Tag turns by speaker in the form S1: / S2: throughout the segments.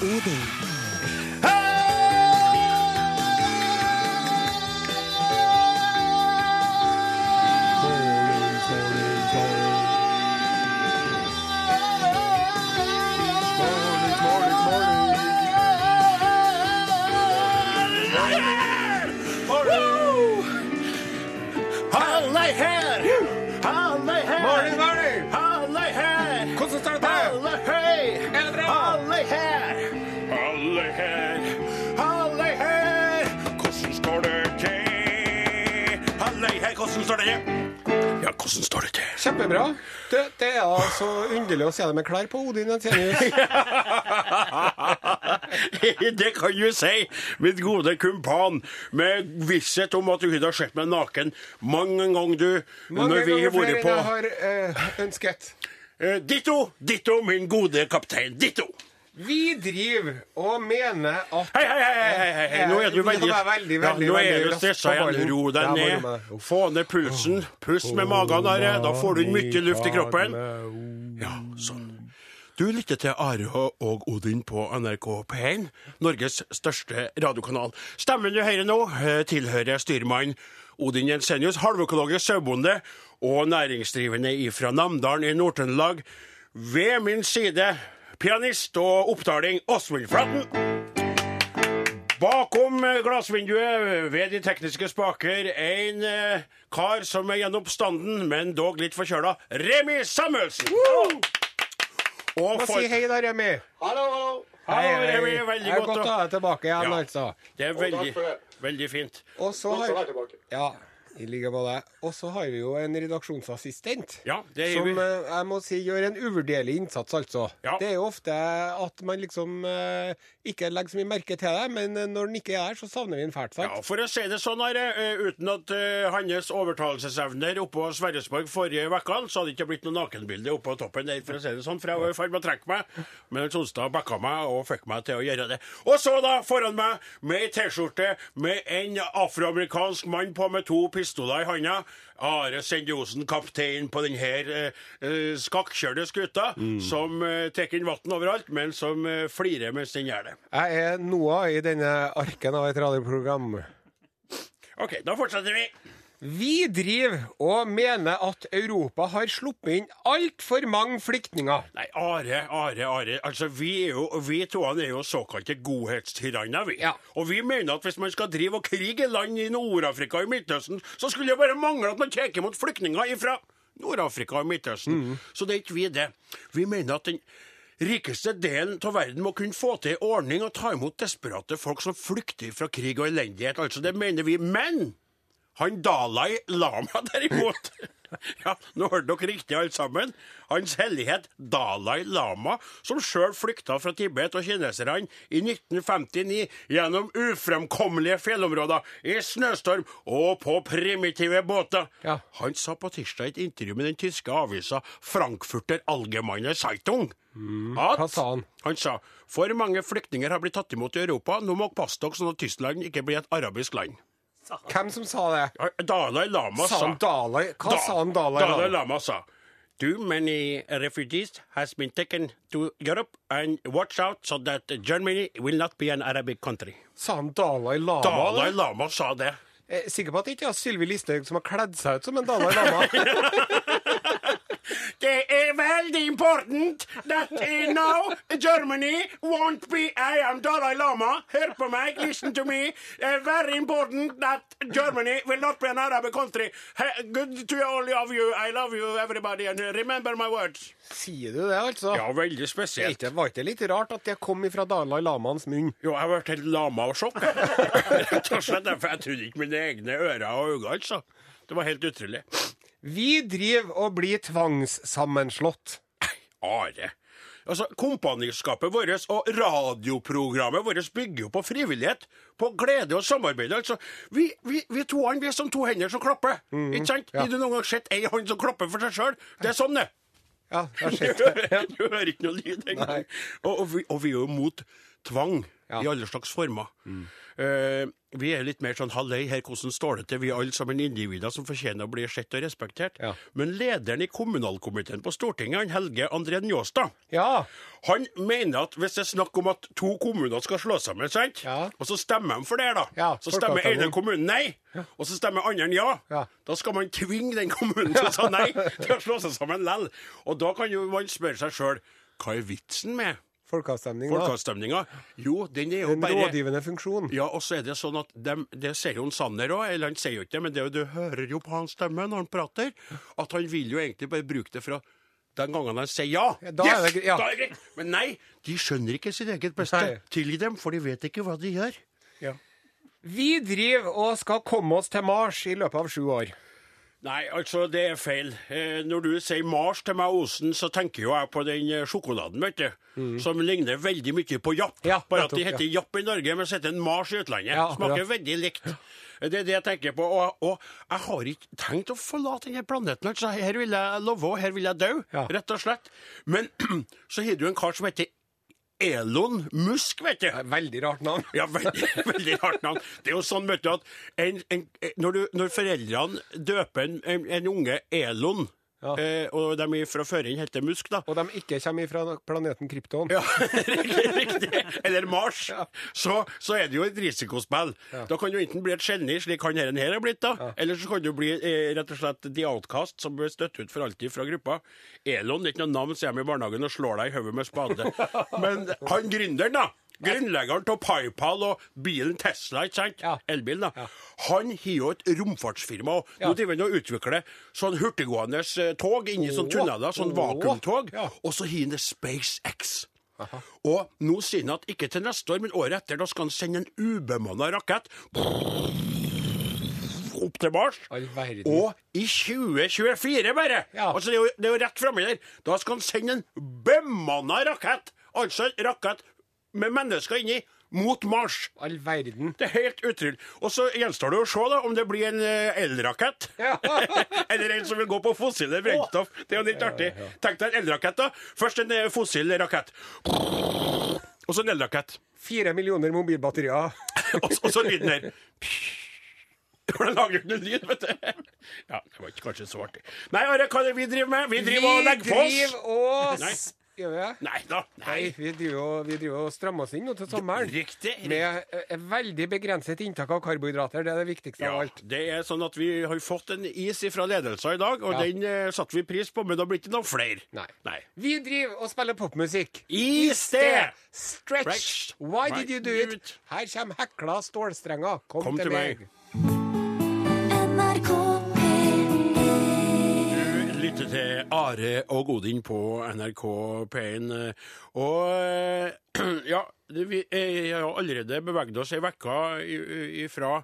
S1: Rudi.
S2: Hallei her! Hallei her!
S3: Morning, morning!
S2: Hallei her!
S3: Hvordan står det til?
S2: Hallei hei!
S3: Er det bra?
S2: Hallei her! Hallei her! Hallei her! Hvordan står det til? Hallei her, hvordan står det til? Ja, hvordan står det til?
S1: Kjempebra. Du, det er altså underlig å se deg med klær på, Odin Jensenius.
S2: det kan du si, min gode kumpan, med visshet om at du kunne ha sett meg naken mange ganger, du,
S1: Mange
S2: når vi
S1: ganger
S2: har
S1: flere
S2: vært
S1: enn
S2: på
S1: jeg har eh, ønsket.
S2: Eh, Ditto, ditto, min gode kaptein, ditto.
S1: Vi driver og mener at
S2: Hei, hei, hei, hei, hei, hei, hei. nå er du
S1: Ja,
S2: veldig,
S1: nå er jeg veldig,
S2: ja,
S1: veldig,
S2: nå er
S1: veldig
S2: du
S1: rask
S2: stressa
S1: på
S2: igjen.
S1: ballen.
S2: Ro deg
S1: Ja, jeg må roe meg
S2: ned,
S1: ned. Uff.
S2: få ned pulsen, pust med magen, Are. Da får du mye luft i kroppen. Ja, sånn. Du lytter til Are og Odin på NRK P1, Norges største radiokanal. Stemmen du hører nå, eh, tilhører styrmann Odin Jensenius, halvøkologisk sauebonde og næringsdrivende fra Namdalen i Nord-Trøndelag. Ved min side, pianist og oppdaling Åsmund Flatten. Bakom eh, glassvinduet, ved de tekniske spaker, en eh, kar som er gjennom standen, men dog litt forkjøla, Remi Samuelsen! Og
S1: Hva
S2: for...
S1: sier hei da, Remi?
S4: Hallo, hallo.
S2: Hei, Remi,
S1: Det
S2: veldig
S1: er
S2: godt
S1: godt å
S2: å-
S1: ha deg tilbake igjen,
S2: Ja.
S1: altså.
S2: Det er
S4: takk for
S2: veldig,
S4: det.
S2: veldig fint.
S1: Og så
S4: Godt å være
S1: har
S4: tilbake.
S1: Ja, i like måte. Og så har vi jo en redaksjonsassistent.
S2: Ja, det er
S1: Som
S2: vi.
S1: eh, jeg må si gjør en uvurderlig innsats, altså.
S2: Ja.
S1: Det er jo ofte at man liksom eh, ikke legger så mye merke til det, men eh, når den ikke er der, så savner vi den fælt,
S2: Ja,
S1: sant?
S2: for å si det sånn, Are, eh, uten at eh, hans overtalelsesevner oppå Sverresborg forrige uke, så hadde det ikke blitt noe nakenbilde oppå toppen der, for å si det sånn. For jeg var i ferd med å trekke meg, men Hans Onstad backa meg og fikk meg til å gjøre det. Og så, da, foran meg, med ei T-skjorte med en afroamerikansk mann på med to pistoler i handa. Are Sendiosen, kaptein på denne eh, eh, skakkjørte skuta, som eh, tar inn vann overalt, men som eh, flirer mens den gjør det.
S1: Jeg er Noah i denne arken av et radioprogram.
S2: OK, da fortsetter vi.
S1: Vi driver og mener at Europa har sluppet inn altfor mange flyktninger.
S2: Nei, Are, Are, Are. Altså, Vi, er jo, vi toene er jo såkalte godhetstyranner, vi.
S1: Ja.
S2: Og vi mener at hvis man skal drive og krige land i Nord-Afrika og i Midtøsten, så skulle det bare mangle at man tar imot flyktninger ifra Nord-Afrika og Midtøsten. Så det er ikke vi, det. Vi mener at den rikeste delen av verden må kunne få til en ordning og ta imot desperate folk som flykter fra krig og elendighet. Altså, det mener vi. Men han Dalai Lama, derimot Ja, nå hørte dere riktig, alle sammen. Hans hellighet Dalai Lama, som sjøl flykta fra Tibet og kineserne i 1959 gjennom ufremkommelige fjellområder, i snøstorm og på primitive båter.
S1: Ja.
S2: Han sa på tirsdag i et intervju med den tyske avisa Frankfurter Allgemeine Zeitung at
S1: Mm, Hva sa han?
S2: han sa for mange flyktninger har blitt tatt imot i Europa, nå må dere passe dere sånn at Tyskland ikke blir et arabisk land.
S1: Hvem som sa det?
S2: Dalai Lama
S1: Sa han Dalai? Hva sa han Dalai?
S2: Dalai Lama
S1: Lama?
S2: sa Too many refugees has been taken to Europe, and watch out so that Germany will not be an Arabic country.
S1: Sa han Dalai Lama?
S2: Dalai Lama sa det.
S1: Jeg er sikker på at det ikke er Sylvi Listhaug som har kledd seg ut som en Dalai Lama.
S2: Det er veldig important that uh, now Germany won't be I am Dalai Lama. Hør på meg, listen to me. Uh, very important that Germany will not be an Arabic country. He- good to all of you. I love you, everybody, and uh, remember my words.
S1: Sier du det, altså?
S2: Ja, veldig
S1: Det er
S2: spesielt.
S1: ikke- Var ikke det litt rart at det kom ifra Dalai Lamaens munn?
S2: Jo, jeg ble helt lama av sjokk. Rett og slett derfor jeg trodde ikke mine egne ører og øyne, altså. Det var helt utrolig.
S1: Vi driver og blir tvangssammenslått.
S2: Are. Altså, Kompaniskapet vårt og radioprogrammet vårt bygger jo på frivillighet, på glede og samarbeid. Altså, vi, vi, vi toene vi er som to hender som klapper. ikke sant? Har du noen gang sett ei hånd som klapper for seg sjøl? Det er sånn, det.
S1: Ja, jeg har
S2: Du
S1: sett det.
S2: hører, du hører ikke noe lyd engang. Og, og, vi, og vi er jo mot tvang. i alle slags former.
S1: Mm.
S2: Eh, vi er litt mer sånn hallei her, hvordan står det til? Vi er alle sammen individer som fortjener å bli sett og respektert.
S1: Ja.
S2: Men lederen i kommunalkomiteen på Stortinget, han Helge André Njåstad,
S1: Ja.
S2: han mener at hvis det er snakk om at to kommuner skal slå sammen, sant?
S1: Ja.
S2: og så stemmer de for det, da.
S1: Ja,
S2: så stemmer
S1: folkeavstemning.
S2: ene kommunen nei, og så stemmer andre ja.
S1: Ja.
S2: Da skal man tvinge den kommunen som sa nei, til å slå seg sammen lell. Og da kan jo man spørre seg sjøl hva er vitsen med
S1: Folkeavstemning, da.
S2: folkeavstemninga? Jo, den er jo
S1: En
S2: bare
S1: rådgivende funksjon.
S2: ja, og så er det sånn at dem- Det sier jo en Sanner òg, eller han sier jo ikke det, men det, er jo- du hører jo på hans stemme når han prater, at han vil jo egentlig bare bruke det fra den gangen han sier ja.
S1: Ja, da er det gre- ja.
S2: da er det greit. Men nei, de skjønner ikke sitt eget
S1: Nei.
S2: beste. Tilgi dem, for de vet ikke hva de gjør.
S1: Vi driver og skal komme oss til Mars i løpet av sju år.
S2: Nei, altså, det er feil. Eh, når du sier Mars til meg, Osen, så tenker jo jeg på den eh, sjokoladen, vet du. Som ligner veldig mye på Japp.
S1: Mhm. Ja,
S2: bare at de
S1: nettopp,
S2: heter Japp i Norge, men så heter den Mars i utlandet.
S1: Ja,
S2: Smaker
S1: akkurat.
S2: veldig likt. Det er det jeg tenker på. Og, og jeg har ikke tenkt å forlate denne planeten. Altså. Her vil jeg leve, og her vil jeg dø.
S1: Ja.
S2: Rett og slett. Men så har du en kar som heter Elon Musk, vet du.
S1: Veldig rart navn.
S2: Ja, veldig, veldig rart navn. Det er jo sånn, vet du, at en, en, når, du, når foreldrene døper en, en, en unge Elon,
S1: Ja.
S2: eh, og de er fra før inn heter Musk, da
S1: Og de ikke kommer fra planeten Krypton.
S2: ja, riktig. Eller Mars. Så, så er det jo et risikospill. Da kan du enten bli et geni, slik han her, her er blitt, da, eller så kan du bli eh, rett og slett the outcast, som blir støtt ut for alltid fra gruppa. Elon det er ikke noe navn, sier de i barnehagen og slår deg i hodet med spade. Men han gründeren, da. Grunnleggeren av PayPal og bilen Tesla, ikke sant?
S1: Ja.
S2: Elbilen, da. Han har jo et romfartsfirma òg.
S1: Ja.
S2: Nå driver han og utvikler sånn hurtiggående eh, tog inni sånne
S1: Åh.
S2: tunneler, sånn
S1: Åh.
S2: vakuumtog.
S1: Ja.
S2: Og så har han det SpaceX. Og nå sier han at ikke til neste år, men året etter, da skal han sende en ubemanna rakett opp til Mars.
S1: All verden.
S2: Og i 2024 bare!
S1: Ja.
S2: Altså, det er jo, det er jo rett framme der. Da skal han sende en bemanna rakett, altså en rakett med mennesker inni, mot Mars.
S1: All verden.
S2: Det er helt utrolig. Og så gjenstår det å se da, om det blir en eh, elrakett.
S1: Ja.
S2: Eller en som vil gå på fossile brennstoff. Det er jo litt artig. Tenk deg en elrakett, da. Først en eh, fossil rakett. Og så en elrakett.
S1: Fire millioner mobilbatterier.
S2: Og så- og så lyden her. For den lager jo ikke noe lyd, vet du. Ja, det var ikke kanskje så artig. Nei, Are, hva er det vi driver med? Vi driver og legger på oss.
S1: driver og
S2: Nei.
S1: s- Gjør vi det?
S2: Nei da. Nei.
S1: Nei, vi driver og- vi driver og strammer oss inn nå til sommeren.
S2: Riktig. riktig.
S1: Med eh, veldig begrenset inntak av karbohydrater. Det er det viktigste
S2: Ja,
S1: av alt.
S2: det er sånn at vi har fått en is fra ledelsen i dag, og den eh, satte vi pris på, men det har blitt noen flere.
S1: Nei. Vi driver og spiller popmusikk.
S2: I sted!
S1: Stretch. Why did you do it? Her kommer hekla stålstrenger. Kom,
S2: Kom til
S1: til meg.
S2: meg.
S3: NRK P1
S2: Du lytter til Are og Godin på NRK P1, eh, og eh, ja, det, vi eh, har allerede beveget oss ei uke ifra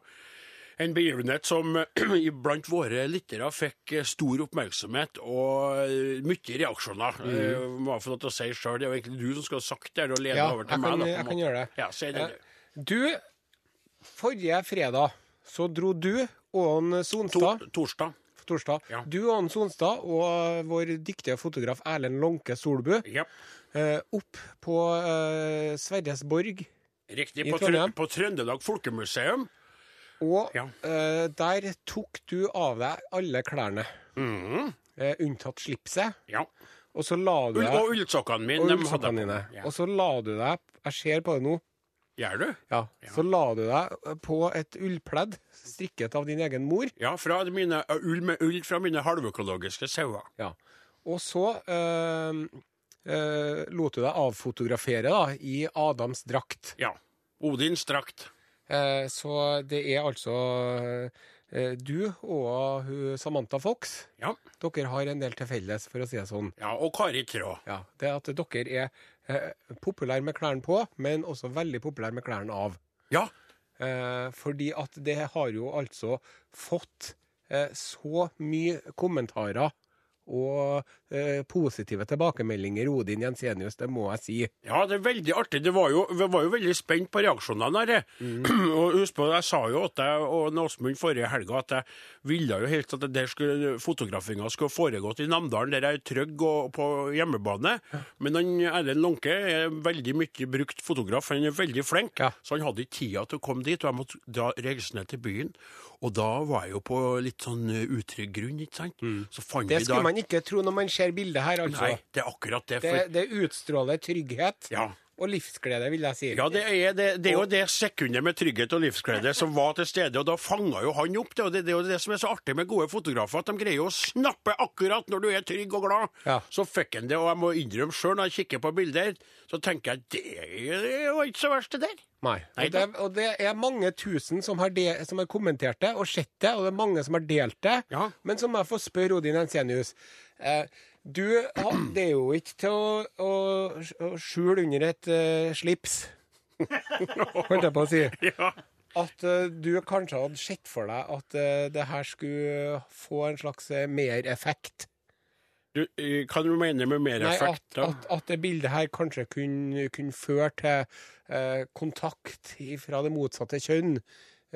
S2: en begivenhet som eh, blant våre lyttere fikk eh, stor oppmerksomhet og eh, mye reaksjoner. Mm. Hva for noe til å si sjøl? Det er jo egentlig du som skal ha sagt det, og lede
S1: Ja,
S2: over
S1: jeg
S2: til meg. da, på
S1: kan-
S2: en
S1: jeg kan
S2: måte.
S1: gjøre det.
S2: Ja, si det.
S1: Eh, Du, forrige fredag så dro du og han Sonstad
S2: To, torsdag.
S1: torsdag.
S2: Ja.
S1: Du og han Sonstad og vår dyktige fotograf Erlend Lånke Solbu
S2: Ja.
S1: eh, opp på eh, Sverresborg.
S2: Riktig.
S1: I
S2: På,
S1: Trondheim.
S2: Trø på Trøndelag Folkemuseum.
S1: Og
S2: Ja.
S1: eh, der tok du av deg alle klærne, eh, unntatt slipset.
S2: Ja.
S1: Og så la du
S2: Ull,
S1: deg
S2: og ullsokkene mine.
S1: og
S2: dem hadde
S1: ullsokkene
S2: jeg
S1: dine.
S2: på. Ja.
S1: Og så la du deg Jeg ser på det nå.
S2: Gjør du?
S1: Ja. Så la du deg på et ullpledd strikket av din egen mor.
S2: Ja, fra mine, ull med ull fra mine halvøkologiske sauer.
S1: Ja. Og så eh, eh, lot du deg avfotografere da, i Adams drakt.
S2: Ja. Odins drakt.
S1: Eh, så det er altså eh, du og hun Samantha Fox.
S2: Ja.
S1: Dere har en del til felles, for å si det sånn.
S2: ja. Og Kari Traa.
S1: Ja, Det at dere er eh, populære med klærne på, men også veldig populære med klærne av.
S2: Ja.
S1: Eh, fordi at det har jo altså fått eh, så mye kommentarer og eh, positive tilbakemeldinger, Odin Jensenius, det må jeg si.
S2: Ja, det er veldig artig. Det var jo, vi var jo veldig spent på reaksjonene her. og husk på, jeg sa jo at jeg, og en Åsmund forrige helga at jeg ville jo helst at det der skulle, fotografinga skulle foregått i Namdalen, der jeg er trygg og på hjemmebane. Men han Erlend Lånke er veldig mye brukt fotograf, han er veldig flink,
S1: Ja.
S2: så han hadde ikke tida til å komme dit. Og jeg måtte dra reise ned til byen. Og da var jeg jo på litt sånn eh, utrygg grunn, ikke sant. Så fant
S1: Mm. Det
S2: vi da
S1: skulle man ikke tro når man ser bildet her, altså.
S2: Nei, det er akkurat det.
S1: Det,
S2: For,
S1: det utstråler trygghet
S2: ja.
S1: og livsglede, vil jeg si.
S2: Ja, det er, det, det er jo det sekundet med trygghet og livsglede som var til stede, og da fanga jo han opp det. og Det, det er jo det som er så artig med gode fotografer, at de greier å snappe akkurat når du er trygg og glad.
S1: Ja.
S2: Så fikk han det, og jeg må innrømme sjøl, når jeg kikker på bilder, så tenker jeg det er jo ikke så verst, det der.
S1: Nei.
S2: Nei
S1: Og det, og det er mange tusen som har, de, som har kommentert det og sett det, og det er mange som har delt det.
S2: Ja.
S1: Men så må jeg få spørre Odin Ensenius. Eh, du, ha- det er jo ikke til å, å, å skjule under et eh, slips, holdt jeg på å si,
S2: Ja.
S1: at eh, du kanskje hadde sett for deg at eh, det her skulle få en slags eh, mereffekt.
S2: Du, eh, hva du mener med mer
S1: Nei, at,
S2: effekt? da?
S1: at, at det bildet her kanskje kunne, kunne føre til eh, kontakt fra det motsatte kjønn.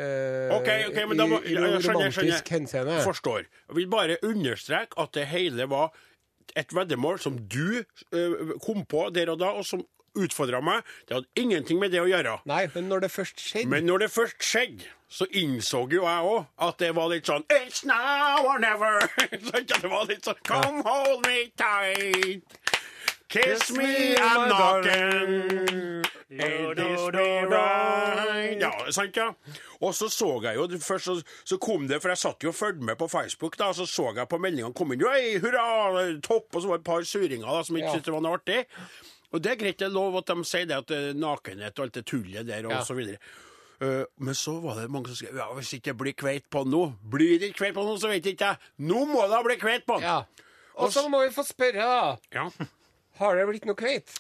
S1: eh,
S2: Ok, ok, men da må-
S1: I, i
S2: ja, jeg
S1: noe
S2: skjønner, jeg
S1: romantisk henseende.
S2: Forstår. Jeg vil bare understreke at det hele var et veddemål som du eh, kom på der og da, og som utfordra meg. Det hadde ingenting med det å gjøre.
S1: Nei, men når det først skjedde
S2: Men når det først skjedde, så innså jo jeg òg at det var litt sånn It's now or never. Sant? det var litt sånn Come hold me tight. Kiss me, I'm knocking. It is me right. Ja, sant, ja. Og så så jeg jo det Først så, så kom det, for jeg satt jo og fulgte med på Facebook, da, og så så jeg på meldingene kom inn Hei, hurra, topp! Og så var det et par suringer da, som ikke
S1: Ja.
S2: syntes det var noe artig. Og det er greit, det er lov at de sier det, at eh, nakenhet og alt det tullet der, og
S1: Ja.
S2: så videre. Eh, men så var det mange som skrev ja, hvis ikke det blir kveit på nå, blir det ikke kveit på nå, så vet ikke jeg. Nå må det bli kveit på den!
S1: Ja. Og så må vi få spørre, da.
S2: Ja.
S1: Har det blitt noe kveit?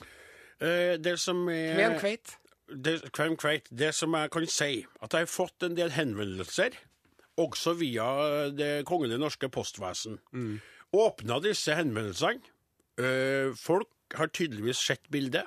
S2: Eh, det som er
S1: Med en kveit?
S2: det, Kvem kveit. Det som jeg kan si, at jeg har fått en del henvendelser, også via Det kongelige norske postvesen.
S1: Mm.
S2: Åpna disse henvendelsene. Eh, folk har tydeligvis sett bildet,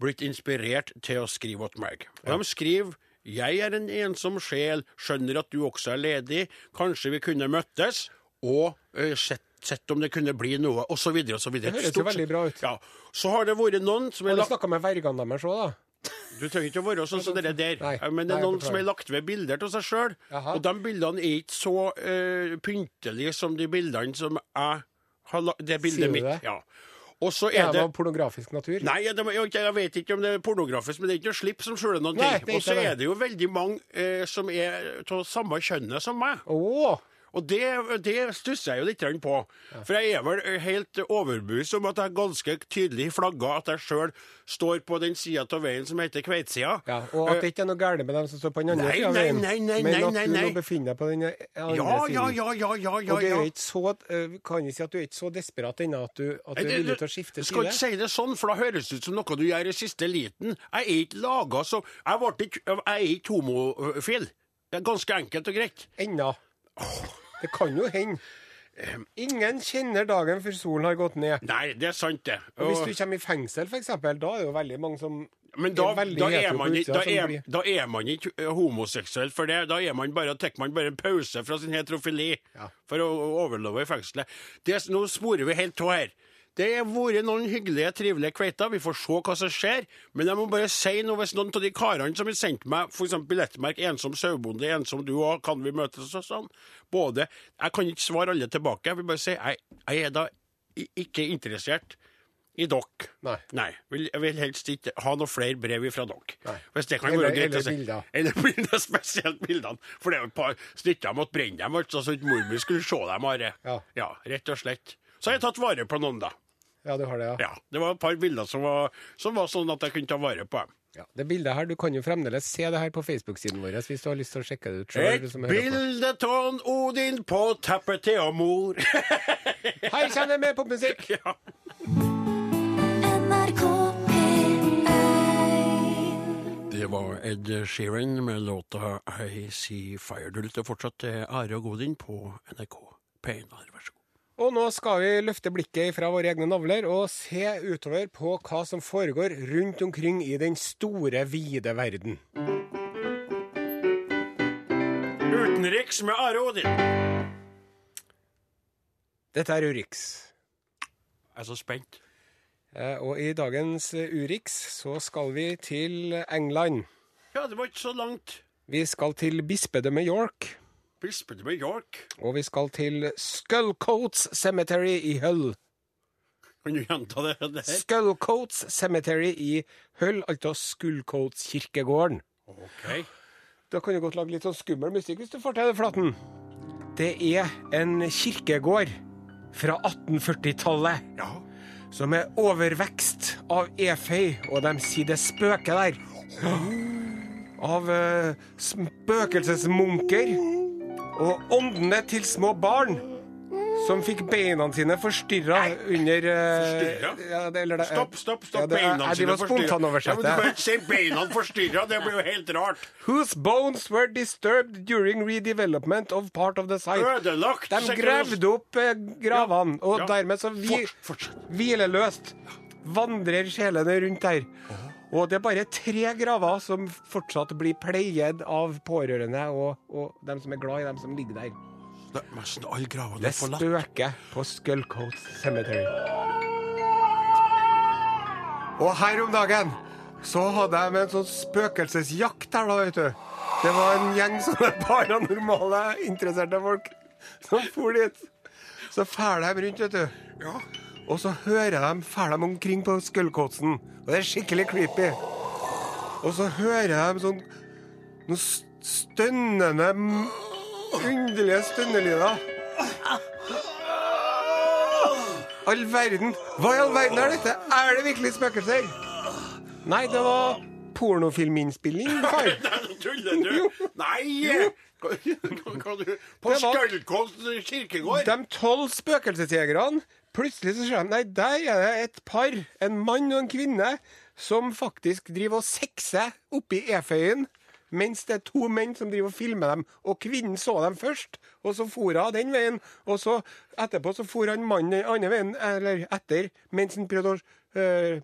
S2: blitt inspirert til å skrive til meg. Og De skriver jeg er en ensom sjel, skjønner at du også er ledig, kanskje vi kunne møttes, og eh, sett, sett om det kunne bli noe, og så videre og så videre.
S1: Det høres jo
S2: Stort sett-
S1: veldig bra ut.
S2: Ja. Så har det vært noen som er
S1: Har du
S2: lagt-
S1: snakka med vergene deres òg, da?
S2: du trenger ikke å være sånn som dere der.
S1: Nei,
S2: Men det
S1: nei,
S2: er noen
S1: beklager.
S2: som har lagt ved bilder av seg sjøl.
S1: Jaha.
S2: Og de bildene er ikke så eh, pyntelige som de bildene som jeg har lagt Det
S1: Sier
S2: bildet
S1: du
S2: mitt.
S1: det?
S2: Ja. Og så
S1: Er
S2: er
S1: det
S2: det
S1: av pornografisk natur?
S2: Nei, jeg, jeg, jeg vet ikke om det er pornografisk, men det er ikke noe slipp som skjuler noen
S1: Nei, det er
S2: ting. Og så
S1: ikke det.
S2: er det jo veldig mange eh, som er av samme kjønnet som meg.
S1: Å!
S2: Og det, det stusser jeg jo litt grann på. For jeg er vel eh, helt overbevist om at jeg ganske tydelig flagga at jeg sjøl står på den sida av veien som heter Kveitsida.
S1: Ja, og at det ikke er noe galt med dem som står på den
S2: Eh,
S1: andre
S2: Nei,
S1: sida av
S2: nei,
S1: veien,
S2: nei, nei,
S1: men
S2: nei,
S1: at
S2: nei,
S1: du nå
S2: nei.
S1: befinner deg på den eh, andre
S2: Ja,
S1: siden.
S2: ja, ja, ja, ja, ja,
S1: Og det er
S2: ja.
S1: jo ikke så, eh, vi kan ikke si at du er ikke så desperat ennå at du, at du
S2: Nei,
S1: er
S2: det-
S1: villig til å
S2: du
S1: skifte
S2: skal
S1: side.
S2: ikke si det sånn, for da høres det ut som noe du gjør i siste liten. Jeg er ikke laga så Jeg, ble ikke, jeg er ikke homofil. Det er ganske enkelt og greit.
S1: Ennå. Det kan jo hende. Ingen kjenner dagen før solen har gått ned.
S2: Nei, det er sant, det.
S1: Og hvis
S2: Og-
S1: du kommer i fengsel, f.eks., da er det jo veldig mange som
S2: Men da,
S1: er veldig
S2: da, er
S1: hetero på
S2: man, ikke-
S1: utsida altså,
S2: da,
S1: som
S2: er,
S1: blir-
S2: da er man ikke eh, homoseksuell for det. Da er man bare, tar man bare en pause fra sin heterofili
S1: Ja.
S2: for å å overleve i fengselet. Det, s- nå sporer vi helt av her. Det har vært noen hyggelige, trivelige kveiter. Vi får se hva som skjer. Men jeg må bare si noe hvis noen av de karene som har sendt meg f.eks. billettmerk 'Ensom sauebonde', 'Ensom du òg', 'Kan vi møtes?' og sånn. Både Jeg kan ikke svare alle tilbake. Jeg vil bare si jeg, jeg er da i- ikke interessert i dere.
S1: Nei.
S2: Nei. Vil, jeg vil helst ikke ha noen flere brev fra dere.
S1: Nei.
S2: Hvis det kan
S1: Eller-
S2: være greit
S1: eller
S2: å si.
S1: bilder.
S2: Eller bilder, spesielt bildene. For det er jo et par stykker jeg måtte brenne dem, altså, så ikke mor mi skulle se dem. Are.
S1: Ja.
S2: rett og slett. Så har jeg tatt vare på noen, da.
S1: Ja, du har det, ja.
S2: Ja, Det var et par bilder som var, som var sånn at jeg kunne ta vare på dem.
S1: ja. Det bildet her, du kan jo fremdeles se det her på Facebook-siden vår hvis du har lyst til å sjekke det ut
S2: Et
S1: sjøl.
S2: bilde av Odin på teppet til og mor.
S1: Hei, kjenn deg med på musikk!
S2: ja.
S3: NRK P1
S2: Det var Ed Sheeran med låta I See Fire. Du lytter fortsatt til Are og Godin på NRK P1. Are, Vær så god.
S1: Og nå skal vi løfte blikket fra våre egne navler og se utover på hva som foregår rundt omkring i den store, vide verden.
S2: Utenriks med Are Odin.
S1: Dette er Urix.
S2: Jeg er så spent.
S1: Eh, Og i dagens eh, Urix så skal vi til England.
S2: Ja, det var ikke så langt.
S1: Vi skal til bispedømmet York,
S2: Bispedømme med York.
S1: og vi skal til Skullcoats Cemetery i Hull.
S2: Kan du gjenta det? det her?
S1: Skullcoats Cemetery i Hull, altså Skullcoats-kirkegården.
S2: OK.
S1: Da kan du godt lage litt sånn skummel musikk hvis du får til det, Flaten. Det er en kirkegård fra 1840-tallet
S2: Ja.
S1: som er overvekst av eføy, og de sier det spøker der. Av eh, spøkelsesmunker og åndene til små barn som fikk beina sine forstyrra under eh,
S2: Forstyrra?
S1: ja, det- eller det-
S2: Stopp, stopp, stopp.
S1: Ja, det- jeg-
S2: beina
S1: jeg
S2: sine
S1: driver og spontanoversetter.
S2: Ja, men du kan ikke si beina forstyrra. Det blir jo helt rart.
S1: Whose bones were disturbed during redevelopment of part of the site.
S2: Ødelagt.
S1: De
S2: sikkert.
S1: gravde opp eh, gravene, og
S2: Ja.
S1: dermed så vi,
S2: Forts- Fortsett.
S1: hvileløst vandrer sjelene rundt der. Og det er bare tre graver som fortsatt blir pleiet av pårørende og, og dem som er glad i dem som ligger der.
S2: Det er Nesten alle gravene
S1: Det
S2: er forlatt.
S1: spøker på Skullcoat Cemetery. Og her om dagen så hadde jeg med en sånn spøkelsesjakt her, da, vet du. Det var en gjeng sånne paranormale, interesserte folk som for dit. Så fær de rundt, vet du.
S2: Ja.
S1: Og så hører de fær de omkring på Skullcoatsen. Og det er skikkelig creepy. Og så hører de sånn noen s- stønnende, m- underlige stønnelyder. All verden! Hva i all verden er dette? Er det virkelig spøkelser? Nei, det var pornofilminnspilling, far.
S2: Nei, Tuller du? Nei! Hva- hva- hva du- På
S1: Det var-
S2: Skallkost kirkegård?
S1: De tolv spøkelsesjegerne Plutselig så ser de Nei, der er det et par, en mann og en kvinne, som faktisk driver og sexer oppi eføyen. Mens det er to menn som driver og filmer dem. Og kvinnen så dem først, og så for hun den veien. Og så etterpå så for han mannen den andre veien, eller etter, mens han prøvde å øh,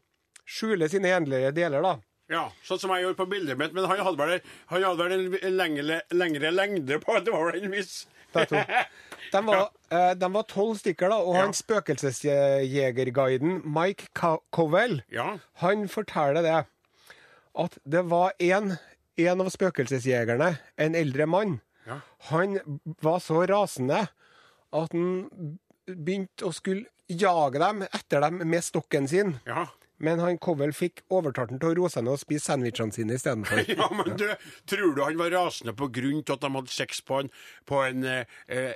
S1: skjule sine endelige deler, da.
S2: Ja, sånn som jeg gjorde på bildet mitt. Men han hadde vel, han hadde vel en en lengre, lengre lengde på Det var vel en viss
S1: De to. De var, eh, de var tolv stykker, da, og han spøkelsesjegerguiden Mike Cow- Cowell
S2: Ja.
S1: han forteller det at det var en, en av spøkelsesjegerne, en eldre mann,
S2: Ja.
S1: han var så rasende at han begynte å skulle jage dem etter dem med stokken sin.
S2: Ja.
S1: Men han Cowell fikk overtalt han til å roe seg ned og spise sandwichene sine istedenfor.
S2: Ja, men du, Tror du han var rasende på grunn til at de hadde sex på en, på en, eh,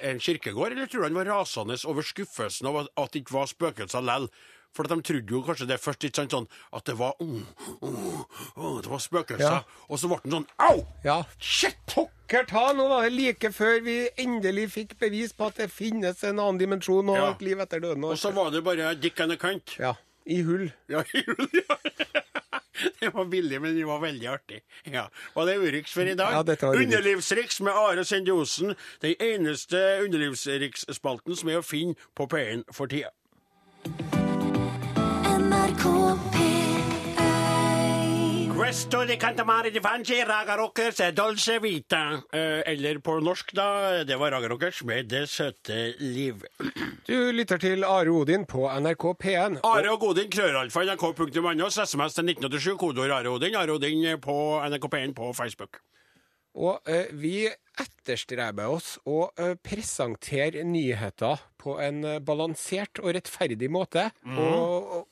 S2: en kirkegård, eller tror du han var rasende over skuffelsen av at- at det ikke var spøkelser lell? For at de trodde jo kanskje det først, ikke sant, sånn at det var mm, mm, mm, Det var spøkelser.
S1: Ja.
S2: Og så ble han sånn Au!
S1: Ja.
S2: Shit!
S1: Pokker ta, nå var det like før vi endelig fikk bevis på at det finnes en annen dimensjon og
S2: Ja.
S1: et liv etter døden.
S2: Og så var det bare Dick and the Cunt.
S1: Ja, i hull.
S2: Ja, ja. Det var billig, men det var veldig artig. Ja. Var det Urix for i dag?
S1: Ja, dette var Urix.
S2: Underlivsriks med Are Sende Osen. Den eneste underlivsriksspalten som er å finne på P1 for tida.
S3: NRK P1
S2: Questo di Cantamari di Fanci, Raga Rockers, Dolce Vita. Eh, Eller på norsk, da. Det var Raga Rockers med Det søte liv.
S1: Du lytter til Are Odin på NRK P1.
S2: Are og Godin, krøralfa, nrk.no, SMS til 1987, kodeord Are Odin. Are Odin på NRK P1 på Facebook.
S1: Og eh, vi etterstreber oss å eh, presentere nyheter på en eh, balansert og rettferdig måte.
S2: Mhm.
S1: Og, og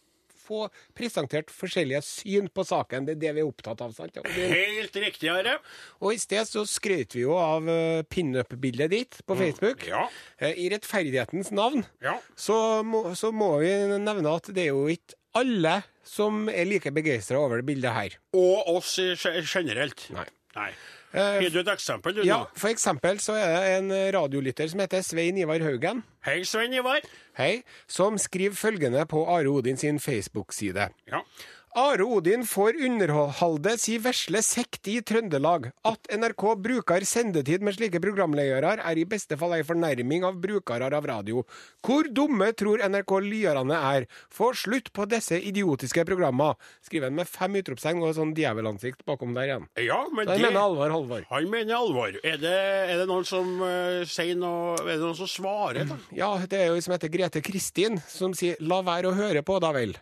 S1: få presentert forskjellige syn på saken. Det er det vi er opptatt av. sant? Og, det,
S2: Helt riktig, Are.
S1: og i sted så skrøt vi jo av eh, pinup-bildet ditt på Facebook.
S2: Mm, Ja.
S1: Eh, I rettferdighetens navn
S2: Ja.
S1: så, må, så må vi nevne at det er jo ikke alle som er like begeistra over det bildet her.
S2: Og oss i ge- generelt.
S1: Nei.
S2: Nei.
S1: Eh,
S2: Gir du et eksempel, du,
S1: Ja,
S2: nå?
S1: for eksempel så er det en radiolytter som heter Svein Ivar Haugen,
S2: Hei, Svein Ivar.
S1: hei, som skriver følgende på Are Odin sin Facebook-side.
S2: Ja.
S1: Are Odin får underholde si vesle sekt i Trøndelag. At NRK bruker sendetid med slike programledere, er i beste fall ei fornærming av brukere av radio. Hvor dumme tror NRK lyerne er? Få slutt på disse idiotiske programma. Skriver han med fem utropstegn og sånn djevelansikt bakom der igjen.
S2: Ja, men
S1: Da
S2: det,
S1: mener Alvar Halvor.
S2: han mener alvor. Er det, er det noen som eh, sier noe Er det noen som svarer, da?
S1: Ja, det er jo en som heter Grete Kristin, som sier 'la være å høre på, da vel'.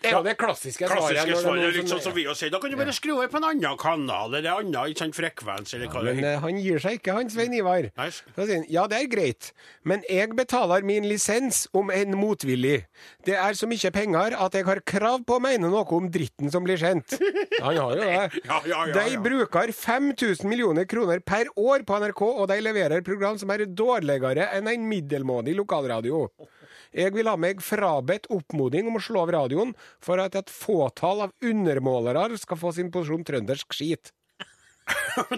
S1: Det er jo
S2: Ja.
S1: det klassiske svaret.
S2: Klassiske
S1: når det er
S2: svaret,
S1: noen
S2: litt sånn som vi jo sier. Da kan du bare skru over på en annen kanal, eller en annen ikke sant, frekvens, eller hva
S1: Men
S2: det er.
S1: eh, han gir seg ikke, han Svein Ivar.
S2: Nei.
S1: Så sier han ja, det er greit, men jeg betaler min lisens om enn motvillig. Det er så mye penger at jeg har krav på å mene noe om dritten som blir sendt. Han har jo det.
S2: Ja, ja, ja,
S1: De
S2: ja.
S1: bruker 5000 millioner kroner per år på NRK, og de leverer program som er dårligere enn en middelmådig lokalradio. Jeg vil ha meg frabedt oppmoding om å slå av radioen for at et fåtall av undermålere skal få sin porsjon trøndersk skit.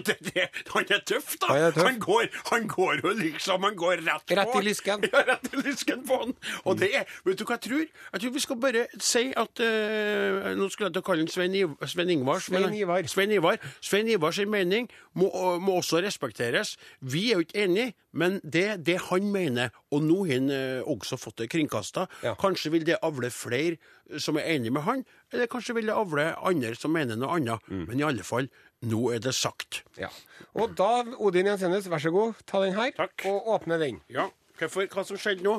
S2: det, det, han er tøff, da.
S1: Han er tøff.
S2: Han, går, han går jo liksom Han går rett på.
S1: Rett i lysken.
S2: Ja, rett i lysken på han. Og det er Vet du hva jeg tror? Jeg tror vi skal bare si at eh, Nå skulle jeg til å kalle han Svein, Iv Svein Ingvars. men-
S1: Svein Ivar.
S2: Svein Ivar. Svein Ivar sin mening må, må også respekteres. Vi er jo ikke enige, men det er det han mener. Og nå har han eh, også fått det kringkasta.
S1: Ja.
S2: Kanskje vil det avle flere som er enige med han, eller kanskje vil det avle andre som mener noe annet.
S1: Mm.
S2: Men i alle fall, nå er det sagt.
S1: Ja. Og da, Odin Jensenius, vær så god, ta den her
S2: Takk.
S1: og åpne den.
S2: Ja, hvorfor, hva som skjedde nå?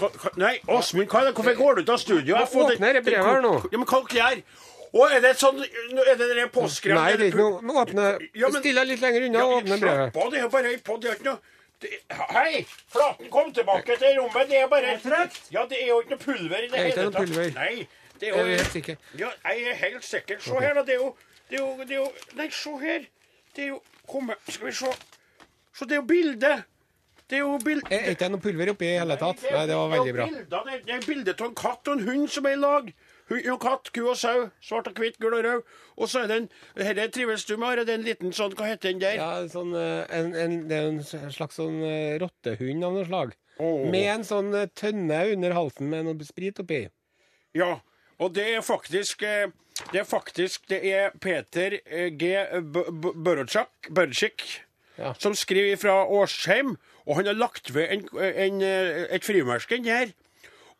S2: Hva, hva, nei, Åsmund, hva er det? Hvorfor går du ut av studio? Jeg har fått et-
S1: Åpner det brevet her nå?
S2: Ja, men hva dere gjør? Og er det et sånn, er det det påskrevet?
S1: Nei, det er ikke noe Nå åpne
S2: Ja, men-
S1: Still deg litt lenger unna og åpne brevet.
S2: Slapp av, det er jo bare en podd, det er ikke noe det- Hei! Flaten, kom tilbake til rommet. Det er bare Ja, det er jo ikke noe pulver i det
S1: er ikke
S2: hele
S1: noe pulver.
S2: tatt. Nei, det er
S1: Er
S2: jo
S1: du helt sikker?
S2: Ja, jeg er helt sikker. Se her, da. Det er jo Det er jo, det er jo Nei, se her. Det er jo Kom her, skal vi se. Så det er jo bilde. Det er jo bilde
S1: Er er ikke det noe pulver oppi i hele tatt? Nei, det var veldig bra.
S2: Bilder, det, er- det er bilde av en katt og en hund som er i lag. Hund og katt, ku og sau. Svart og hvitt, gull og rød. Og så er det en Dette trives du med, Are. Det er en liten sånn Hva heter den der?
S1: Ja, sånn, eh, en, en, det er jo en s- slags sånn eh, rottehund av noe slag.
S2: Åh.
S1: Med en sånn eh, tønne under halsen med noe sprit oppi.
S2: Ja, og det er faktisk eh, Det er faktisk det er Peter eh, G. Børodsjak
S1: Ja.
S2: som skriver fra Årsheim, og han har lagt ved en, en, eh, et frimerke inni her.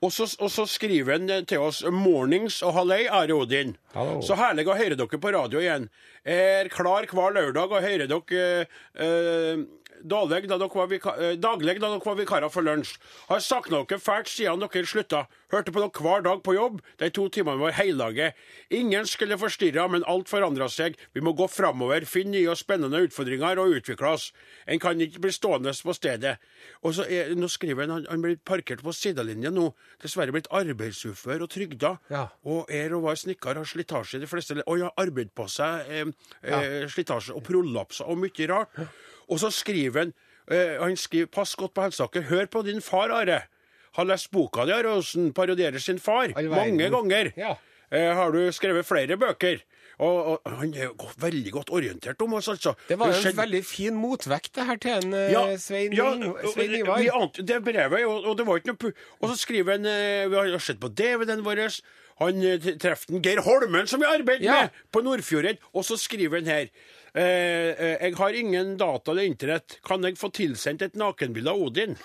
S2: Og så, og så skriver han eh, til oss 'Mornings og hallei, Are Odin'.
S1: Hallo.
S2: Så herlig å høre dere på radio igjen. Er klar hver lørdag og hører dere eh, daglig da dere var vika- eh, daglig da dere var vikarer for lunsj. Har savna dere fælt siden dere slutta. Hørte på dere hver dag på jobb. De to timene var heilage. Ingen skulle forstyrra, men alt forandra seg. Vi må gå framover, finne nye og spennende utfordringer og utvikle oss. En kan ikke bli stående på stedet. Og så er, nå skriver han, han han blir parkert på sidelinjen nå. Dessverre blitt arbeidsufør og trygda.
S1: Ja.
S2: Og er og var snekker, har slitasje i de fleste le- Og har arbeid på seg eh, eh, slitasje og prolapser og mye rart. Og så skriver han eh, Han skriver 'Pass godt på helsa dere'. Hør på din far, Are. Har lest boka di, Are Osen. Parodierer sin far.
S1: All verden.
S2: Mange ganger.
S1: Ja.
S2: Eh, har du skrevet flere bøker? Og, og han er jo go- veldig godt orientert om oss, altså.
S1: Det var jo
S2: Skjedd-
S1: en veldig fin motvekt, det her til en eh, Svein, Ing-
S2: og-
S1: Svein
S2: og-
S1: Ivar.
S2: Vi ante, det brevet, og, og det var ikke noe pu- Og så skriver han eh, Vi har sett på DVD-en vår. Han eh, t- traff den Geir Holmen, som vi arbeider
S1: Ja.
S2: med på Nordfjorden. Og så skriver han her eh, eh, Jeg har ingen data eller internett. Kan jeg få tilsendt et nakenbilde av Odin?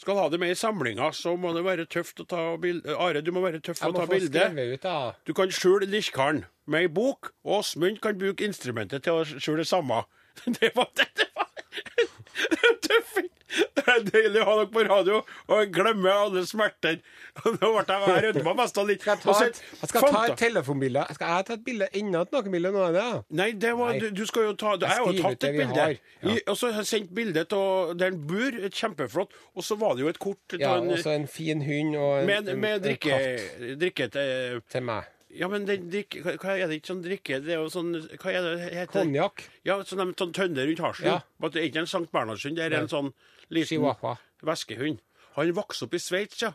S2: Skal ha det med i samlinga, så må det være tøft å ta bilde. Are, du må være tøff
S1: Jeg
S2: å
S1: må
S2: ta
S1: få
S2: bilde.
S1: skrevet ut, da.
S2: Du kan skjule lirkaren med ei bok, og Åsmund kan bruke instrumentet til å skjule det samme. Det var det, det var det var tøffing! Det er deilig å ha dere på radio, og jeg glemmer alle smerter. Nå ble jeg jeg rødma mest av litt.
S1: Skal
S2: Og
S1: jeg ta
S2: så-
S1: et, jeg skal ta
S2: Fanta-
S1: et telefonbilde? Skal jeg ta et bilde enda et nakenbilde nå? Er det? da?
S2: Nei, det var, Du, du skal jo ta Jeg har jo
S1: skriver ut
S2: tatt
S1: det
S2: et
S1: vi
S2: bilde.
S1: har. Ja.
S2: I, og så har jeg sendt bilde av der en bur. Et kjempeflott. Og så var det jo et kort til
S1: Ja,
S2: en,
S1: og så en fin hund og en,
S2: med,
S1: en-
S2: med
S1: en
S2: drikke,
S1: katt
S2: drikket eh,
S1: til meg.
S2: Ja, men den drikke, hva- hva er det ikke sånn drikke Det er jo sånn Hva er det heter?
S1: Konjakk.
S2: Ja, sånn, de- sånn tønne rundt halsen.
S1: Ja.
S2: Bare at Det er ikke en Sankt Bernhardshund, det er en sånn liten
S1: Chihuahua.
S2: veskehund. Han vokste opp i Sveits, ja.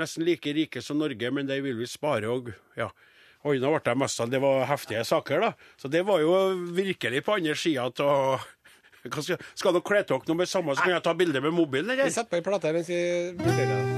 S2: Nesten like rike som Norge, men de vil vi spare og ja. Oi, nå ble jeg mest av Det var heftige saker, da. Så det var jo virkelig på andre sida av Hva Skal, skal dere kle dere noe med samme, så kan jeg ta bilde med mobilen,
S1: Vi
S2: eller?
S1: setter på ei plate mens vi vurderer det.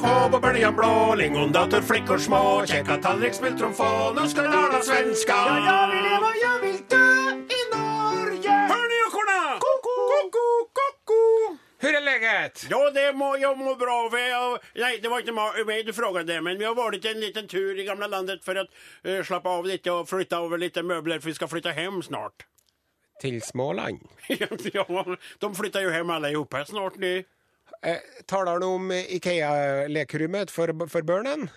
S2: få på böljan blå Lingondator, flickor små Käka tallrik, speltrumfå Nu ska lära svenska Ja, jag vill leva, jag vill dö i Norge Hör ni ekorna? Koko, koko, koko
S1: Hur är läget?
S2: Ja, det må, jag mår bra. För jag, nej, det var inte ma- mig du frågade, men vi har varit en liten tur i gamla landet för att eh, slappa av lite och flytta över lite möbler, för vi ska flytta hem snart.
S1: Till Småland.
S2: ja, de flyttar ju hem allihopa snart nu.
S1: Eh, talar du om Ikea-lekerommet for, for barnen?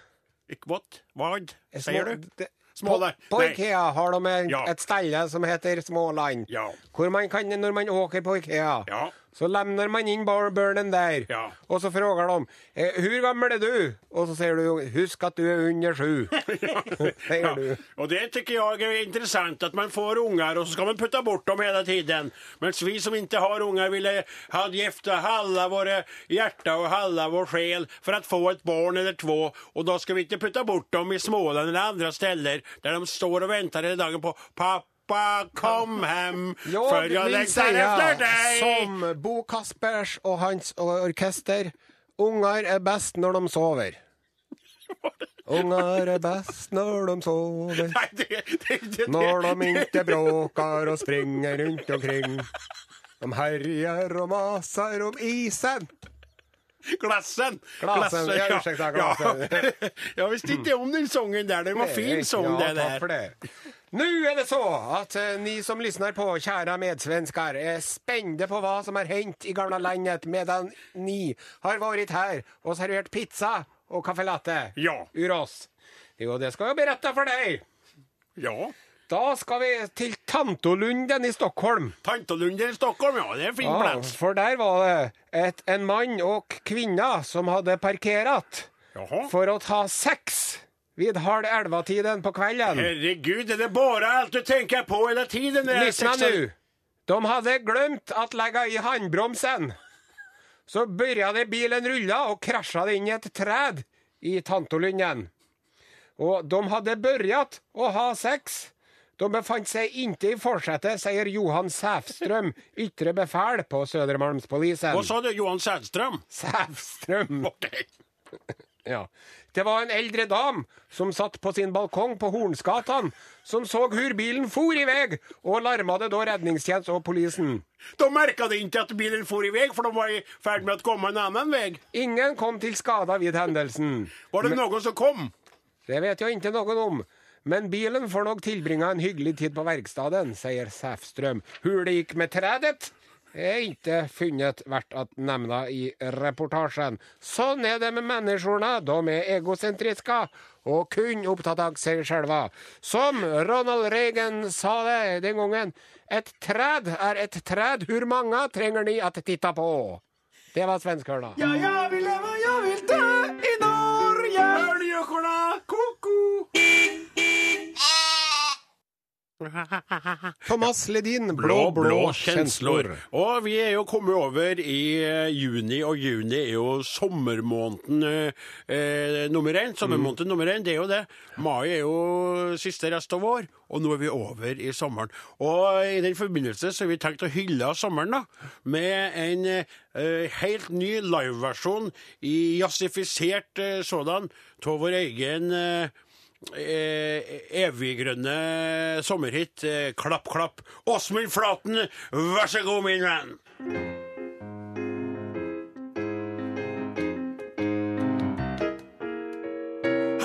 S2: Ik- What? Vad?
S1: Eh, små-
S2: Säger du?
S1: det-
S2: Småland.
S1: På, på
S2: Nej.
S1: Ikea har de en,
S2: Ja.
S1: et stelle som heter Småland.
S2: Ja.
S1: Hvor man kan, når man åker på Ikea,
S2: Ja.
S1: så lemner man inn bar- børnen der.
S2: Ja.
S1: Og så spør de eh, 'Hvor gammel er du?' Og så sier du 'Husk at du er under sju'. det gjør du.
S2: Och det tycker jag är intressant att man får ungar och så ska man putta bort dem hela tiden. Men vi som inte har ungar ville ha- gifta alla våra hjärta och alla vår själ för att få ett barn eller två. Och då ska vi inte putta bort dem i Småland eller andra ställen där de står och väntar hela dagen på pappa kom hem för jag längtar efter dig.
S1: som Bo Kaspers og hans orkester Unger er best når de sover. Unger er best når de sover.
S2: Nej, det, det, det,
S1: Når de ikke bråker og springer rundt omkring. De herjer og maser om isen.
S2: Glassen!
S1: Glassen, ja, ursäkta, glassen.
S2: Ja. Jag visste inte om den sången där. Den var fin sång
S1: ja,
S2: det
S1: Takk for
S2: där.
S1: det. Nå er det så at eh, ni som lyssnar på, kjære medsvenskar, er spente på hva som har hendt i gamla landet medan ni har vært her og servert pizza og caffè latte
S2: Ja.
S1: ur oss. Jo, det skal jeg berette for deg.
S2: Ja.
S1: Da skal vi til Tantolunden i Stockholm.
S2: Tantolunden i Stockholm, ja. Det är en fin
S1: Ja,
S2: plats.
S1: for der var det et, en mann og kvinne som hadde parkert
S2: Jaha.
S1: for å ta sex vid halv elva-tiden på kvelden.
S2: Herregud, är det bara allt du tänker på hela tiden? när jag är
S1: Lyssna
S2: 16?
S1: nu! De hade glömt att lägga i handbromsen. Så började bilen rulla och kraschade in i ett träd i Tantolunden. Och de hade börjat att ha sex. De befann sig inte i fortsättet, säger Johan Säfström, yttre befäl på Södermalmspolisen.
S2: Vad sa du? Johan Sandström?
S1: Säfström.
S2: Okej.
S1: Ja. Det var en eldre dam som satt på sin balkong på Hornsgatan, som så hur bilen for i väg och larmade då räddningstjänst och polisen.
S2: De märkade inte att bilen for iväg för de var i färd med att komma en annan väg.
S1: Ingen kom til skada vid hendelsen.
S2: Var det någon som kom?
S1: Det vet jeg ikke noen om. Men bilen får nok tilbringa en hyggelig tid på verkstedet, sier Sæfstrøm. Hvor det gikk med tredet, er ikke funnet verdt at nevna i reportasjen. Sånn er det med menneskene. De er egosentriske og kun opptatt av seg sjølve. Som Ronald Reagan sa det den gangen, et træd er et træd, hvor mange trenger ni at titta på? Det var svenskhørna.
S2: Ja, jag vill leva, jag vill dö i Norge! Hör ni ekorna? Koko!
S1: Thomas Ledin,
S2: Blå, blå känslor. Og vi er jo kommet over i eh, juni, og juni er jo sommermåneden eh, eh, nummer én. Sommermåneden nummer én, det er jo det. Mai er jo siste rest av år, og nå er vi over i sommeren. Og i den forbindelse så har vi tenkt å hylle sommeren, da, med en eh, helt ny liveversjon i jazzifisert eh, sådan av vår egen eh, eh, eviggrønne sommerhit. Eh, klapp, klapp. Åsmund Flaten, vær så god, min venn.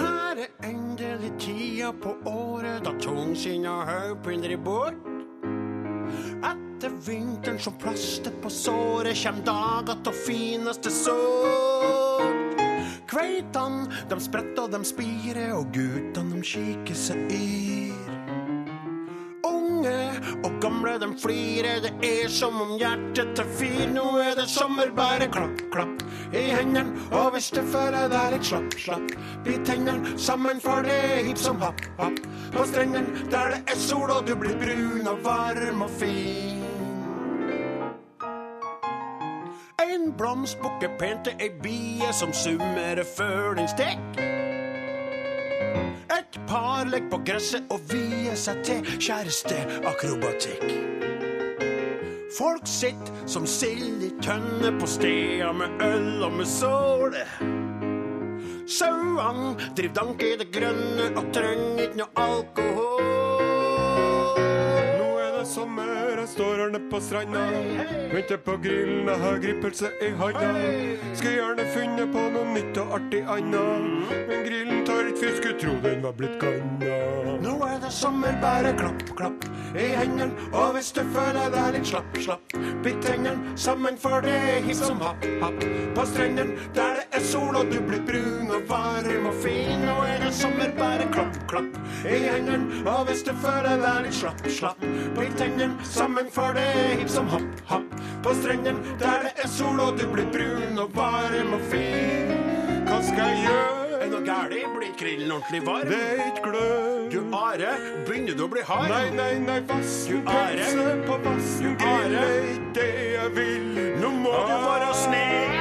S2: Her er endelig tida på året da tungsinna høypinner i båt. Etter vinteren som plaster på såret, kjem dager til fineste sort. Kveitan, dem spretter og dem spirer, og gutan dem kikker seg yr. Unge og gamle, dem flirer, det er som om hjertet tar fyr. Nå er det sommer, bare klapp, klapp i hendene. Og hvis du føler deg litt slapp, slapp i tennene. Sammen for det er hipp som happ, happ på strendene. Der det er sol, og du blir brun og varm og fin. En blomst bukker pent til ei bie som summer før den stek. Et par legger på gresset og vier seg til kjæresteakrobatikk. Folk sitter som sild i tønne på steder med øl og med sål. Sauene driv dank i det grønne og trenger ikke noe alkohol.
S1: Nå er det sommer, jeg står her nede på stranda. Venter på grillen, jeg har gripelse i handa. Skulle gjerne funnet på noe nytt og artig anna. Men grillen tar ikke fisk, skulle tro den var blitt kanna.
S2: Nå er det sommer, bare klapp, klapp i hendene. Og hvis du føler deg litt slapp, slapp, bitt hendene sammen, for det er hipp som happ, happ. På strendene der det er sol, og du blir brun og varm og fin. Nå er det sommer, bare klapp, klapp i hendene. Og hvis du føler deg litt slapp, slapp, bitt hendene sammen, for det er hipp som happ, happ. På strendene der det er sol, og du blir brun og varm og fin.
S1: Hva skal jeg gjøre?
S2: Er noe gærlig, blir krillen ordentlig varm?
S1: Det er ikke glød.
S2: Du Are, begynner du å bli hard?
S1: Nei, nei, nei, vassen
S2: Are.
S1: pølse på vassen grill
S2: Are.
S1: er ikke det jeg vil.
S2: Nå må du være snill.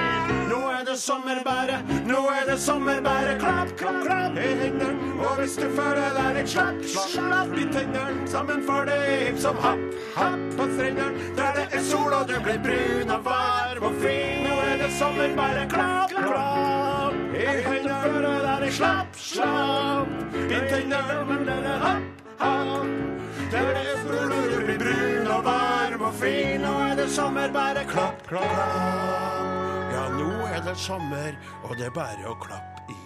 S2: Nå er det sommer, bare. Nå er det sommer, bare. Klapp, klapp, klapp i hendene. Og hvis du føler deg litt slapp, slapp i tennene. Sammen for det er hipp som happ, happ på strendene. Der det er sol og du blir brun og varm og fin. Nå er det sommer, bare klapp, klapp i hendene. Føler deg litt slapp, slapp i tennene. Men der er happ, happ. Der det er sol og du blir brun og varm og fin. Nå er det sommer, bare klapp, klapp, klapp. Ja, nå er det sommer, og det er bare å klappe i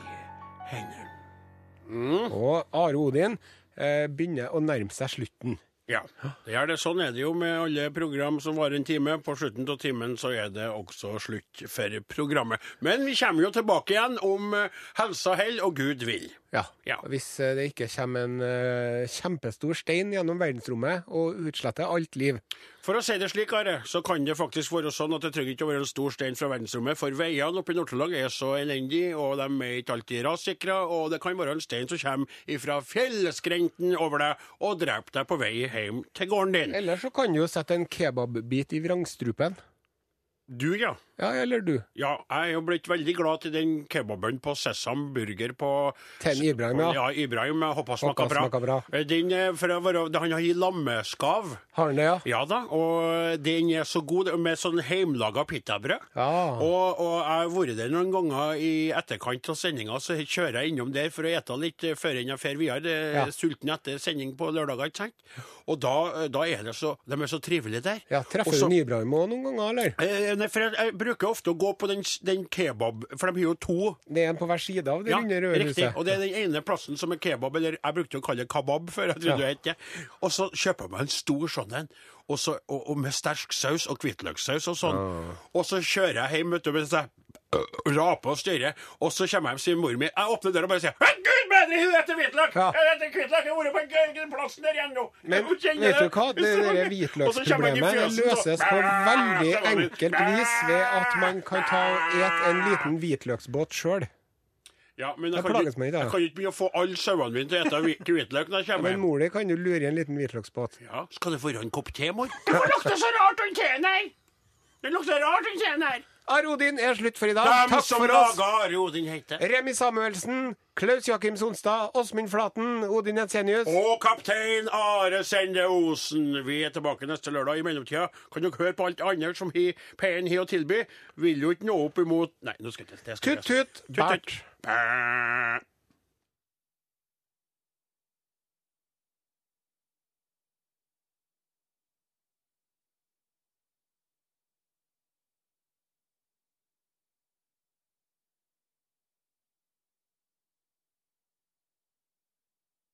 S2: hendene.
S1: Og Are Odin eh, begynner å nærme seg slutten.
S2: Ja, det er det. Sånn er det jo med alle program som varer en time. På slutten av timen så er det også slutt for programmet. Men vi kommer jo tilbake igjen om eh, helsa holder og Gud vil.
S1: Ja.
S2: Ja.
S1: Hvis eh, det ikke kommer en eh, kjempestor stein gjennom verdensrommet og utsletter alt liv.
S2: For å si det slik, Are, så kan det faktisk være sånn at det trenger ikke å være en stor stein fra verdensrommet, for veiene oppe i Nord-Trøndelag er så elendige, og de er ikke alltid rassikre, og det kan være en stein som kommer ifra fjellskrenten over deg og dreper deg på vei hjem til gården din.
S1: Eller så kan du jo sette en kebabbit i vrangstrupen.
S2: Du, ja.
S1: Ja, eller du.
S2: Ja, jeg er jo blitt veldig glad til den kebaben på Sesam Burger på
S1: Ten Ibrahim, ja.
S2: Ja, Ibrahim. jeg Håper smaker
S1: Håper
S2: bra.
S1: smaker bra.
S2: Eh, Den er fra, han har i lammeskav.
S1: Har han det, ja?
S2: Ja da, og den er så god med sånn heimlaga pitabrød.
S1: Ja.
S2: Og, og jeg har vært der noen ganger i etterkant av sendinga, så kjører jeg innom der for å ete litt eh, før enn jeg drar videre. Det er
S1: Ja.
S2: Sulten etter sending på lørdager, ikke sant. Og da, eh, da er det så De er så trivelige der.
S1: Ja, Treffer
S2: Og så-
S1: du Nybrahim òg noen ganger, eller?
S2: Eh, Nei, for jeg, jeg bruker ofte å gå på den, s- den kebab, for de har jo to.
S1: Det er en på hver side av det
S2: Ja,
S1: runde røde
S2: riktig.
S1: huset.
S2: Og det er den ene plassen som er kebab, eller jeg brukte å kalle det kabab før. jeg trodde
S1: Ja.
S2: det het det. Og så kjøper jeg meg en stor sånn en, og, så, og, og med sterk saus og hvitløkssaus og sånn. Og så kjører jeg hjem, vet du, mens jeg raper og styrer, og så kommer jeg hjem, sier mor mi Jeg åpner døra og bare sier «Hei, Gud bedre, hun heter hvitløk!
S1: Ja.
S2: Jeg heter hvitløk, jeg har vært på den plassen der igjen nå!
S1: Men
S2: Jeg kjenner
S1: vet du hva? Det
S2: Hvis
S1: der
S2: mange- Og så kommer jeg inn i
S1: hvitløksproblemet
S2: fjøsen, så-
S1: løses på veldig
S2: Så var det-
S1: enkelt vis ved at man kan ta og et en liten hvitløksbåt sjøl.
S2: Ja, men
S1: Jeg
S2: jeg kan,
S1: plages
S2: ikke,
S1: med det, ja.
S2: jeg kan ikke begynne å få alle sauene mine til å spise hvitløk når jeg kommer
S1: Men
S2: hjem.
S1: mor di kan jo lure i en liten hvitløksbåt.
S2: Ja, skal det være en kopp te, mor? Det lukter så rart, den teen her! Det lukter rart, den teen her!
S1: Arodin er slutt for i dag.
S2: Dem
S1: Takk
S2: som
S1: for oss.
S2: laga Are Odin heter.
S1: Remi Samuelsen, Klaus Jakim Sonstad, Åsmund Flaten, Odin Jensenius.
S2: Og kaptein Are Sende Osen. Vi er tilbake neste lørdag. I mellomtida kan dere høre på alt annet som he- P1 har å tilby. Vil jo ikke nå opp imot Nei, nå skal jeg ikke det skal jeg-
S1: Tut-tut,
S2: Tut, tut.
S1: Bert.
S2: Bæ.